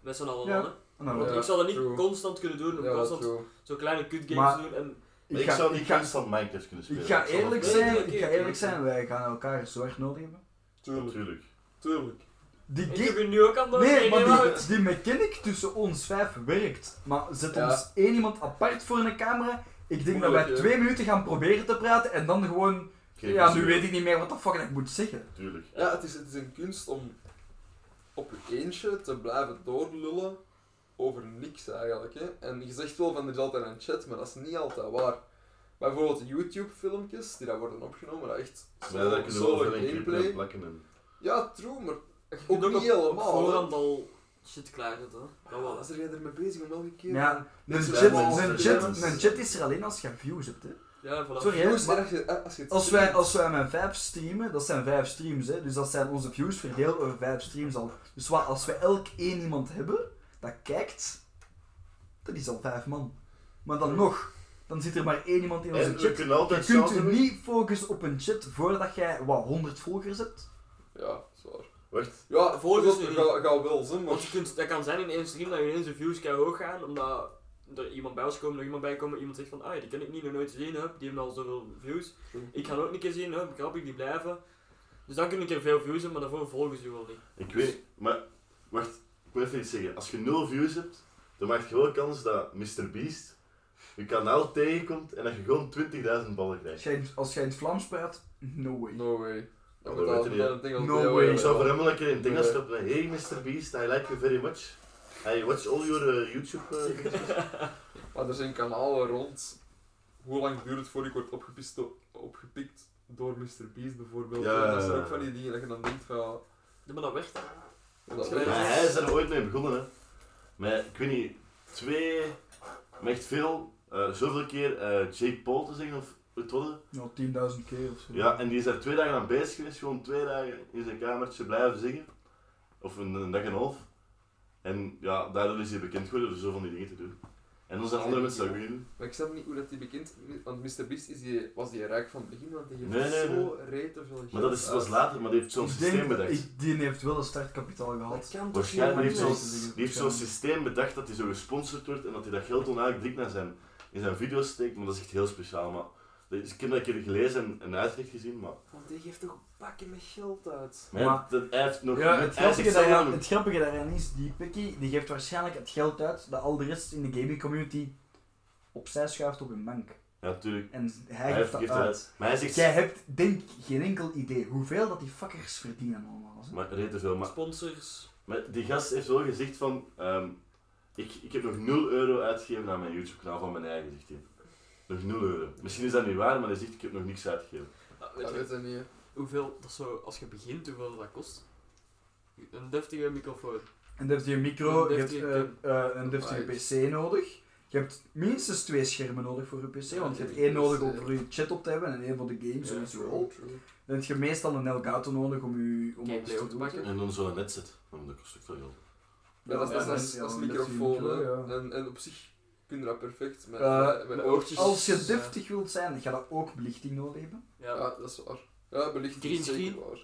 S4: Met z'n allen.
S2: Ja.
S4: hè.
S2: En dan wordt
S3: Ja.
S4: ik zou dat niet
S3: true.
S4: constant kunnen doen, om
S3: Ja,
S4: constant
S3: true.
S4: zo kleine kut games
S2: Maar-
S4: te doen. En
S5: Maar ik,
S2: ga-
S5: zou niet
S2: ga-
S5: constant Minecraft kunnen spelen.
S2: Ik ga
S5: Ik zou
S2: eerlijk
S5: dat-
S4: Nee,
S2: zijn,
S4: nee,
S2: ik ga
S4: nee, nee.
S2: eerlijk zijn, wij gaan elkaar zo erg nodig hebben.
S3: Tuurlijk,
S5: Natuurlijk.
S3: tuurlijk.
S2: Die
S4: ik heb
S2: game...
S4: je nu ook aan het
S2: Nee,
S4: doen,
S2: maar
S4: Wout.
S2: die, die mechanic tussen ons vijf werkt. Maar zet
S3: Ja.
S2: ons één iemand apart voor een camera. Ik denk dat wij
S3: Moeilijk, hè?
S2: twee minuten gaan proberen te praten en dan gewoon...
S5: Oké,
S2: Ja, nu
S5: dus-
S2: weet ik niet meer wat de fuck ik moet zeggen.
S5: Tuurlijk.
S3: Ja, het is, het is een kunst om op je eentje te blijven doorlullen over niks eigenlijk. Hè? En je zegt wel van er is altijd een chat, maar dat is niet altijd waar. Bijvoorbeeld YouTube-filmpjes die daar worden opgenomen, dat echt
S5: Maar ja, daar
S3: zo-
S5: kunnen we
S3: solo
S5: overal een clip in
S3: gameplay.
S5: plakken. En...
S3: Ja, true, maar
S4: Je kunt
S3: ook niet helemaal.
S4: Op
S3: hè.
S4: voorhand al shit klaarzetten. hè. Dat
S3: Ja,
S4: wel.
S3: Wat is er jij ermee bezig om elke keer?
S2: Ja,
S3: Dit
S2: Een
S3: is
S2: chat,
S3: wel-
S2: een,
S3: dit
S2: chat, een chat is er alleen als je views hebt, hè.
S4: Ja, voilà.
S2: Sorry,
S3: Views,
S2: hè.
S3: en
S2: maar
S3: als je- eh, als je het
S2: Als wij,
S3: streamt.
S2: als wij met vijf streamen, dat zijn vijf streams, hè. Dus dat zijn onze views verdeeld over vijf streams al. Dus wat, als we elk één iemand hebben dat kijkt, dat is al vijf man. Maar dan nog, dan zit er maar één iemand in onze
S5: En we
S2: chat.
S5: kunnen
S2: Je
S5: altijd
S2: kunt
S5: samen-
S2: je niet focussen op een chat voordat jij, wat, 100 volgers hebt.
S3: Ja, zwaar.
S5: Wacht.
S3: Ja,
S4: Volgens
S3: volgens
S4: nu niet.
S3: ga, ga wel zin, maar...
S4: Want je kunt, dat kan zijn in één stream dat je ineens de views kan hoog gaan, omdat er iemand bij ons komt, nog iemand bij komt, iemand zegt van, ah, die kan ik niet nog nooit zien, hup, die hebben al zoveel views. Ik ga ook niet keer zien, hup, grappig, die blijven. Dus dan kun ik er veel views hebben, maar daarvoor volgen ze je wel niet.
S5: Ik weet, maar wacht, ik wil even iets zeggen. Als je nul views hebt, dan maak je wel kans dat Mr. Beast je kanaal tegenkomt en dat je gewoon 20.000 ballen
S2: Als
S5: krijgt.
S2: jij, in- als jij in het Vlaams praat, no way.
S3: No way. Dat
S5: dat
S3: moet al-
S5: weten
S3: dat
S5: die.
S3: een ding als
S2: No
S3: DOA
S2: way.
S5: Ik
S3: wel.
S5: zou voor hem wel een keer in het Engels stappen. Hey Mr. Beast, I like you very much. I watch all your eh, YouTube. eh, video's."
S3: Maar Ah, er zijn kanalen rond. Hoe lang duurt het voor ik word opgepist do- opgepikt door Mr. Beast bijvoorbeeld?
S5: Ja,
S3: En dat zijn
S5: ja, ja.
S3: ook van die dingen dat je dan denkt van ja,
S4: Ja, maar dat werkt. hè.
S3: dat
S4: Ja.
S5: maar
S3: werkt.
S5: hij is er ooit mee begonnen, hè? Met, ik weet niet, twee, maar echt veel, eh, zoveel keer eh, Jake Paul te zeggen of het worden.
S2: Nou, 10.000 keer of zo.
S5: Ja, en die is daar twee dagen aan bezig geweest, gewoon twee dagen in zijn kamertje blijven zingen. Of een, een dag en een half. En ja, daardoor is hij bekend geworden door zo van die dingen te doen. En dan zijn andere mensen dat ook weer doen.
S3: Maar ik snap niet hoe dat die bekend want Mr. Beast is die, was die rijk van het begin, want die heeft
S5: Nee, nee,
S3: zo rete veel geld.
S5: Maar dat is,
S3: uit.
S5: was later, maar die heeft zo'n
S2: Ik denk-
S5: systeem bedacht.
S2: ik- die heeft wel een startkapitaal
S4: Dat
S2: gehad.
S4: kan toch niet.
S5: Waarschijnlijk heeft
S2: Ja,
S5: zo'n
S2: dat is-
S5: die heeft zo'n systeem bedacht dat hij zo gesponsord wordt en dat hij dat geld dan eigenlijk direct naar zijn, in zijn video's steekt. Maar dat is echt heel speciaal. Maar, dus ik heb dat een keer gelezen en, en uitleg gezien, maar,
S3: Want die geeft toch pakken met geld uit.
S5: maar,
S2: Maar-
S5: dat, hij heeft nog
S2: Ja,
S5: hij
S2: het,
S5: heeft
S2: grappige
S5: zichzelf
S2: daaraan,
S5: nog-
S2: het grappige daaraan is, die Picky die geeft waarschijnlijk het geld uit dat al de rest in de gaming community opzij schuift op hun bank.
S5: Ja, natuurlijk.
S2: En hij geeft dat
S5: geeft
S2: uit.
S5: Maar hij zegt...
S2: Jij hebt, denk ik, geen enkel idee hoeveel dat die fuckers verdienen allemaal. hè.
S5: Maar reed te veel. Maar,
S4: Sponsors.
S5: maar die gast heeft wel gezegd van... ehm, ik, ik heb nog 0 euro uitgegeven aan mijn YouTube-kanaal van mijn eigen, zegt hij. Nog 0 euro. Misschien is dat niet waar, maar hij zegt ik heb nog niks uitgegeven.
S4: Ah, weet
S3: Dat
S4: je
S3: weet ik niet. hè.
S4: hoeveel, dat zo, als je begint, hoeveel dat kost? Een deftige microfoon.
S2: Een deftige micro,
S4: Een
S2: je hebt
S4: deftige
S2: eh, eh, een deftige
S3: mic.
S2: pc nodig. Je hebt minstens twee schermen nodig voor je pc,
S4: Ja,
S2: want je
S4: een
S2: hebt
S3: deftige
S2: één nodig
S3: PC,
S2: om
S3: ja.
S2: voor je chat op te hebben en één voor de game,
S4: Ja,
S2: sowieso.
S3: True, true.
S2: Dan heb je meestal een Elgato nodig om, je, om
S4: Gameplay
S2: alles te
S4: ook te
S2: doen.
S4: maken.
S5: En dan zo'n headset. Want dat kost ook veel geld.
S3: Ja, dat is- dat is-
S2: Ja,
S3: dat is
S2: ja,
S3: dat is
S2: een
S3: microfoon.
S2: deftige
S3: hè.
S2: micro, ja.
S3: En en op zich kun je dat perfect met
S2: Eh,
S3: met- met oortjes.
S2: Als je
S3: Dus Ja.
S2: deftig wilt zijn, dan ga je ook belichting nodig hebben.
S4: Ja.
S3: Ja, dat is waar. Ja, belicht
S4: Green
S3: is zeker
S4: screen?
S3: waar.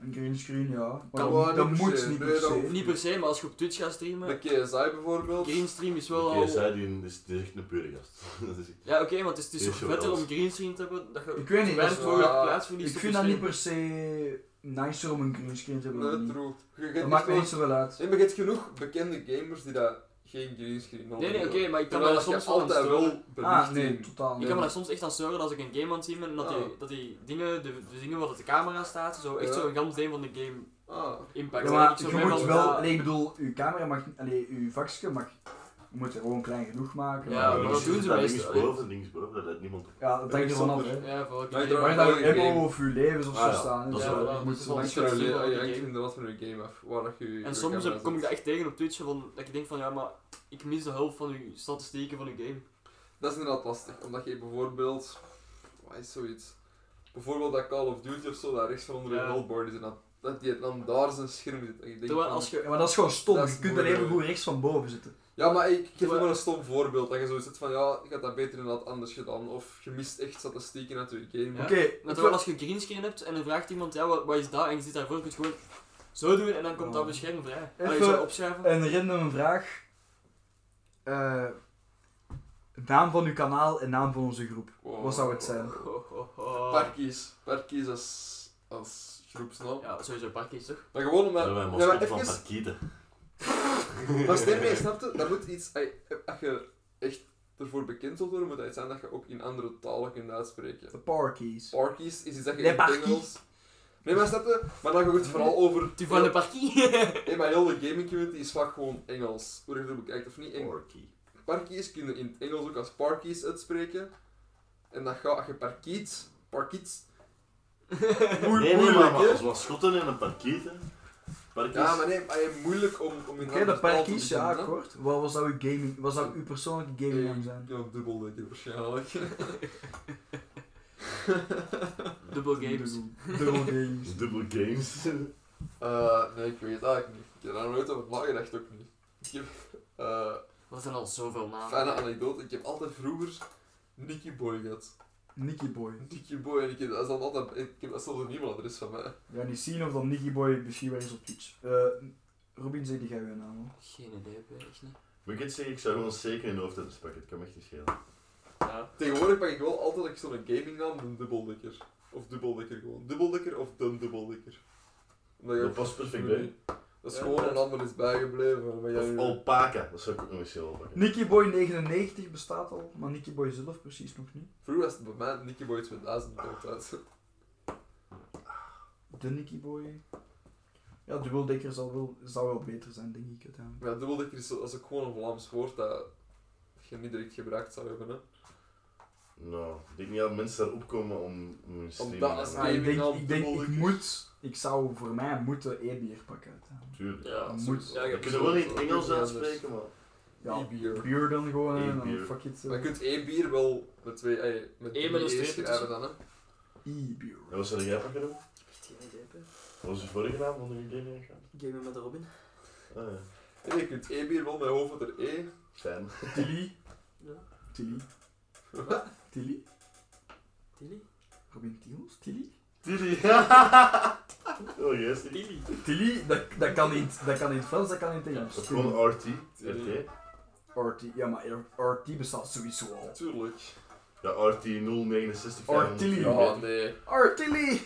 S2: Een greenscreen, ja. Maar dat,
S4: Kan
S3: wel,
S2: dat
S3: niet per
S2: moet
S3: se.
S2: niet
S3: Nee,
S2: per
S3: dat
S2: se.
S3: hoeft
S4: Niet per se, maar als je op Twitch gaat streamen,
S3: Met KSI bijvoorbeeld.
S4: Greenstream is wel
S5: Oké,
S4: al...
S5: zij die is, die is echt een pure gast. dat is,
S4: Ja, oké, want het is
S5: Die
S4: dus
S5: is zo
S4: vetter
S5: wel.
S4: om Greenstream te hebben, dat je
S2: Ik weet niet, dat is
S4: weinig
S3: wel-
S4: mogelijk
S3: ja,
S4: plaats verliest
S2: Ik
S4: op
S2: vind
S4: je
S2: dat niet
S4: scherm.
S2: per se nicer om een greenscreen te hebben. dan
S3: Nee,
S2: niet.
S3: true. Je- je-
S2: Dat maakt me
S3: je-
S2: niet zoveel uit.
S3: Nee, maar je hebt genoeg bekende gamers die daar geen greenscreen nodig
S4: Nee, nee, oké,
S3: hebben.
S4: maar ik kan me
S3: Terwijl
S4: daar
S3: je
S4: soms wel aan
S3: altijd
S4: storen.
S3: wel
S2: Ah, nee,
S3: belichting.
S2: totaal
S4: Ik
S2: niet.
S4: kan me daar soms echt aan storen als ik een game aan het zien ben en dat die,
S3: Ah.
S4: dat die dingen, de, de dingen waar dat de camera staat, zo echt
S3: Ja.
S4: zo'n gans ding van de game
S3: Ah,
S2: Ja,
S4: impact. En ik
S2: maar
S4: zo
S2: je
S4: ben
S2: moet
S4: van,
S2: wel,
S4: ja,
S2: nee, ik bedoel, uw camera mag, allee, uw vakje mag, je moet er gewoon klein genoeg maken.
S4: Ja,
S5: maar
S4: maar
S5: links-
S4: dat doen ze
S5: dat
S4: meestal,
S5: Linksboven, linksboven, dat leidt niemand op.
S2: ja dat hangt ervan af,
S3: Ja,
S2: hè.
S4: Ja, voor elke
S3: Maar ik
S4: game.
S3: draai-
S2: Waar
S3: dat
S2: dat
S3: is
S2: je
S3: een
S2: emo
S3: game.
S2: of uw levens of
S5: Ah,
S2: zo
S5: ja,
S2: staan.
S5: dat
S2: hè.
S5: is
S2: Ja,
S5: wel-
S2: je moet
S4: dat is
S2: wel
S4: wel
S3: dat
S2: langs
S3: is
S4: echt
S2: gaan.
S4: zo.
S3: inderdaad
S4: van de game.
S3: van wat voor een game af, waar dat je
S4: En soms kom ik daar echt tegen op Twitch van, dat ik denk van ja, maar ik mis de hulp van uw statistieken van uw game.
S3: Dat is inderdaad lastig, omdat je bijvoorbeeld... Wat is zoiets? Bijvoorbeeld dat Call of Duty of zo, daar rechts van onder je
S4: Ja.
S3: healthboard is en dat, dat die dan daar zijn scherm zit. En ik denk
S4: Terwijl
S3: van-
S4: als
S2: Ja,
S4: je...
S2: maar dat is gewoon stom,
S3: Dat is
S2: je kunt er even
S3: moeilijk.
S2: goed rechts van boven zitten.
S3: Ja, maar ik geef
S4: Terwijl-
S3: maar een stom voorbeeld. Dat je zoiets zegt van, ja, ik had dat beter inderdaad anders gedaan. Of je mist echt statistieken uit je game.
S4: Ja.
S2: Oké,
S4: Maar
S2: ik wil-
S4: terwijl als je greenscreen hebt en dan vraagt iemand ja, wat, wat is dat? En je zit daarvoor, kun je gewoon zo doen en dan komt
S2: Ja.
S4: dat op je scherm vrij.
S2: Even-
S4: En je zo opschrijven.
S2: een random vraag. Eh, naam van uw kanaal en naam van onze groep.
S3: Wow.
S2: Wat zou het zijn?
S4: Ho, ho, ho.
S3: Parkies. Parkies als, als groepsnaam.
S4: Ja, sowieso parkies toch?
S3: Maar gewoon omdat...
S5: Dat wij
S3: ja, maar
S5: mascotte van
S3: even...
S5: Parkieten.
S3: Maar stem mee, snapte? Dat moet iets... Als je- als je echt ervoor bekend wilt worden, moet dat iets zijn dat je ook in andere talen kunt uitspreken.
S2: De Parkies.
S3: Parkies is iets dat je
S2: Nee,
S3: in het
S2: parkies.
S3: Engels... Nee, maar snapte? Maar dan gaat het vooral over...
S4: Die van de parkie!
S3: Nee, maar heel de gaming community is vaak gewoon Engels. Hoe je het ook bekijkt of niet. En
S5: Parkie.
S3: Parkies kun je in het Engels ook als parkies uitspreken. En dat gaat, als je parkiet, parkiet. Moe-
S5: Nee, nee, maar
S3: moeilijk,
S5: maar
S3: hè?
S5: als mascotten en een parkieten. Parkies.
S3: Ja, maar nee, maar je moeilijk om, om
S2: Dus- Oké,
S3: in
S2: de
S3: andere taal te
S2: Parkies, ja,
S3: beginnen, hè?
S2: akkoord. Wat was uw gaming, wat zou uw persoonlijke gamingnaam zijn?
S3: Ja, dubbel denk ik waarschijnlijk.
S4: Dubbel games.
S2: Dubbel- Dubbel games.
S5: Dubbel games.
S3: Eh, nee, ik weet het eigenlijk niet. Ik heb daar nooit over nagedacht ook niet. Ik heb eh,
S4: Wat zijn al zoveel namen.
S3: fijne anekdote. Ik heb altijd vroeger Nicky Boy gehad.
S2: Nicky Boy.
S3: Nicky Boy en ik heb dat is dan altijd. Ik heb dat zelfs een e-mailadres van mij.
S2: Ja, niet zien of dan Nicky Boy misschien wel eens op Twitch. Eh, Robin, zeg die jij weer naam. hoor.
S4: Geen idee, ik weet echt niet.
S5: Maar ik kan zeggen, ik zou gewoon zeker een hoofdtennis pakken. Het kan me echt niet schelen.
S4: Ja.
S3: Tegenwoordig pak ik wel altijd als ik zo'n gamingnaam een dubbeldikker. Of dubbeldikker gewoon. Dubbeldikker of dun dubbeldikker. Omdat je-
S5: Dat past perfect bij.
S3: Dat is
S4: Ja,
S3: gewoon
S4: ja.
S3: een ander is bijgebleven. Maar jij...
S5: Of alpaca. Dat zou ik ook nog eens heel pakken.
S2: Nicky Boy 99 bestaat al, maar Nicky Boy zelf precies nog niet.
S3: Vroeger was het bij mij Nicky Boy 2000 altijd.
S2: De Nicky Boy. Ja, dubbeldekker zal wel, zou wel beter zijn, denk ik uiteindelijk.
S3: Maar ja, dubbeldikker is, zo- dat is ook gewoon een Vlaams woord dat je niet direct gebruikt zou hebben. Hè.
S5: Nou, ik denk niet dat mensen daar opkomen om om hun stream
S3: dat als-
S2: Maar Ah, ik denk,
S3: Gamingnaam
S2: ik, denk ik,
S3: dubbeldekker.
S2: moet, ik zou voor mij moeten E-bier pakken uiteindelijk.
S5: Tuurlijk.
S4: Ja,
S2: Moet.
S3: sowieso.
S4: Ja, je
S5: We
S4: hebt
S5: kunnen wel niet
S3: sowieso.
S5: Engels
S3: Anders.
S5: uitspreken, maar...
S2: Ja,
S3: E-bier.
S2: bier dan gewoon en dan
S5: E-bier.
S2: fuck it.
S3: Maar je
S2: eh,
S3: kunt één bier wel met twee... Ey, met
S4: Eén
S3: drie
S4: E met een
S3: E's
S4: streepje
S3: schrijven dan, hè.
S2: E-bier.
S5: En wat zou jij pakken doen?
S4: Echt geen idee,
S5: Wat was je vorige naam van de game? eigenlijk?
S4: Gamen met Robin.
S5: Ah ja,
S3: Nee, je kunt één bier wel met hoofdletter E.
S5: fijn.
S2: Tilly.
S4: Ja.
S2: Tilly.
S3: Wat?
S2: Tilly.
S4: Tilly?
S2: Robin Tiels? Tilly?
S5: Tilly. Oh yes.
S4: Tilly.
S2: Tilly, dat, dat kan niet. Dat kan in het Frans, dat kan in het Engels.
S5: Dat is gewoon RT.
S3: Tilly.
S5: RT.
S2: RT, ja maar R- RT bestaat sowieso al.
S3: Tuurlijk.
S5: Ja, RT 069.
S2: Artilly.
S3: Ja, nee.
S2: Artilly!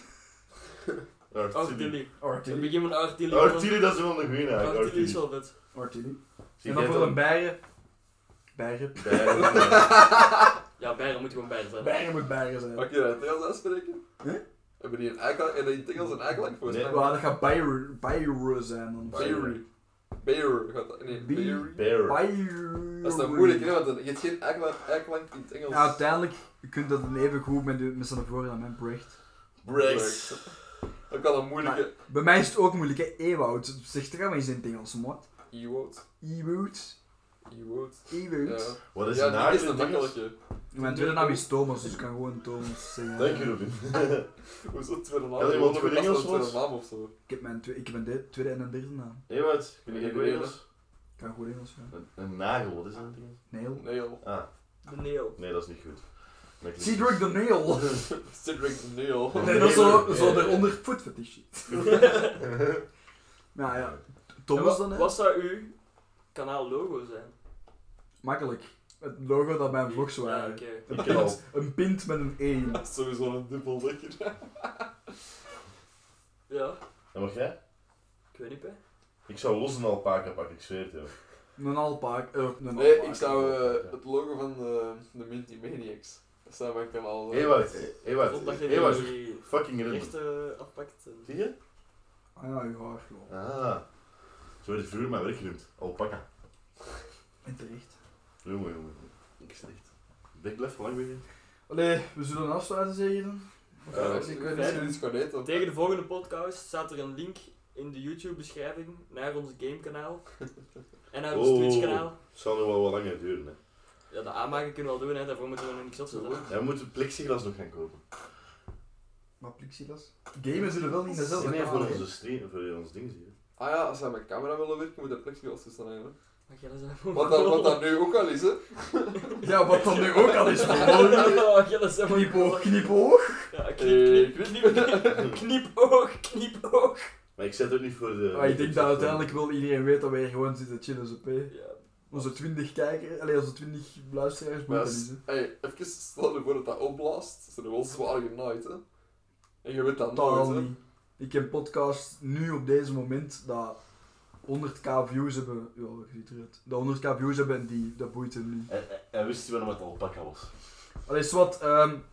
S5: Artilly.
S4: Artilly. Ik
S2: Artilly.
S4: begin met Artilly.
S5: Artilly, dat is wel een goeie naam.
S4: Artilly is wel
S5: Artilly.
S4: vet.
S2: Artilly.
S5: Zie
S2: En
S5: jij
S2: dan voor
S5: dan
S2: een bijen. Bijen.
S5: bij-
S4: Ja, Ja, Beiren moet gewoon Beiren zijn.
S2: Bergen moet bergen zijn.
S3: Mag ik je dat in het Engels uitspreken?
S2: Huh?
S3: Hebben die een eikel en in het Engels een eikel voor
S5: Nee.
S2: Waar dat gaat Bayern Bayern zijn dan.
S3: Bayern. Bayern gaat dat. Nee,
S2: Bi-
S3: Bayern.
S5: Bear.
S2: Bayern.
S3: Dat is dan moeilijk, hè, want je hebt geen eikel- eiklank in het Engels.
S2: Ja, uiteindelijk je kunt dat dan even goed met, de- met zijn voor en met Brecht.
S5: Breaks.
S3: Dat kan een moeilijke
S2: Bij mij is het ook moeilijk, hè? Ewoud. Zeg er maar eens in het Engels, maat.
S3: E-woord.
S2: Ewood.
S3: E-woord.
S2: Ewood.
S5: Wat is
S3: Ja,
S5: een
S3: dat
S5: naam
S3: is
S5: in
S3: een
S5: het Engels?
S3: makkelijke.
S2: Mijn tweede naam is Thomas, dus ik kan gewoon Thomas zeggen.
S5: Dank je, Ruben.
S3: Hoezo tweede naam?
S5: Ja, dat iemand
S3: Gewoon
S5: goed
S3: een
S5: Engels
S3: tweede
S5: was.
S3: naam of zo.
S2: Ik heb mijn twe- ik heb een de- tweede en een derde naam.
S5: Nee, wat? Kun je
S3: Nee,
S5: goed
S3: nee,
S5: Engels?
S2: Ik kan goed Engels, ja.
S5: Een- Een nagel, wat is dat in het Engels?
S2: Nail.
S3: Nee, joh.
S5: Ah,
S4: De Neel.
S5: nee, dat is niet goed. Dat klinkt-
S2: Cedric the Nail.
S3: Cedric Neil.
S5: Nee,
S2: Nee, dat is zo,
S5: nee,
S2: zo
S5: nee.
S2: daaronder foot fetish shit. Nou ja, Thomas dan hè?
S4: Wat zou uw kanaallogo zijn?
S2: Makkelijk. Het logo dat mijn vlogs
S4: Ja,
S2: waren.
S4: oké.
S5: Ik ken al.
S2: Een pint met een 1.
S3: Dat is sowieso een dubbel lekker.
S4: Ja,
S5: En mag jij?
S4: ik weet niet, hè.
S5: Ik zou los een alpaca pakken, ik zweer het joh.
S2: Een alpaak. eh, een
S3: Nee,
S2: alpaak.
S3: ik zou eh, het logo van eh, de Minty Maniacs. Dat zou mijn kanaal. eh,
S5: Ewout, Ewout,
S4: Omdat je
S5: Ewout.
S4: die eh,
S5: Fucking Ruben.
S4: rechten afpakt. en-
S5: Zie je?
S2: Ah ja, je haar gewoon.
S5: Ah. Zo werd vroeger mijn werk genoemd. Alpaca.
S2: En terecht.
S5: Jongen, jongen. Ik slecht. Ik blijf lang weg. hè.
S2: Allee, we zullen afsluiten zeggen dan. Of
S3: eh,
S2: ja,
S3: ik
S2: ik
S3: weet
S2: weet
S3: niet,
S2: het
S3: dit
S2: niet.
S3: is gewoon eten.
S4: Tegen de volgende podcast staat er een link in de YouTube-beschrijving naar ons gamekanaal en naar ons
S5: Oh.
S4: Twitch-kanaal.
S5: Het zal nog wel wat langer duren. Hè.
S4: Ja, de aanmaken kunnen we wel doen, hè. daarvoor moeten we nog niks opzetten.
S5: Ja, we moeten plexiglas nog gaan kopen.
S2: Maar plexiglas? Gamen zullen wel niet in dezelfde
S5: Nee, nee, voor dus.
S2: kamer, hè.
S5: onze stream, voor ons ding zie je.
S3: Ah ja, als zij mijn camera willen werken, moet er plexiglas tussen zijn. hè.
S4: Mag jij dat zijn?
S3: Wat dat, wat dat nu ook al is, hè?
S2: Ja, wat dan nu ook al is gewoon.
S4: Mag jij dat zijn?
S2: Knipoog, knipoog.
S4: Ja,
S3: Eh,
S4: knip, knip, knip, knipoog, knipoog.
S5: Maar ik zet ook niet voor de...
S2: Maar Ah, ik denk dat uiteindelijk wel iedereen weet dat wij hier gewoon zitten chillen, zo hè.
S4: Ja,
S2: Onze 20 kijkers, allee, onze 20 luisteraars
S3: Maar
S2: moeten
S3: als-
S2: niet hè.
S3: hey, even stel je voor dat dat opblaast, ze zijn wel zwaar genaaid, hè? En je weet dat nooit,
S2: Totaal
S3: hè?
S2: niet. Ik heb podcasts nu op deze moment dat 100k views hebben. Ja, je ziet eruit. Dat 100k views hebben en die, dat boeit hem niet.
S5: Hij, hij- hij wist wel wat alpaca was.
S2: Allee, is wat, ehm,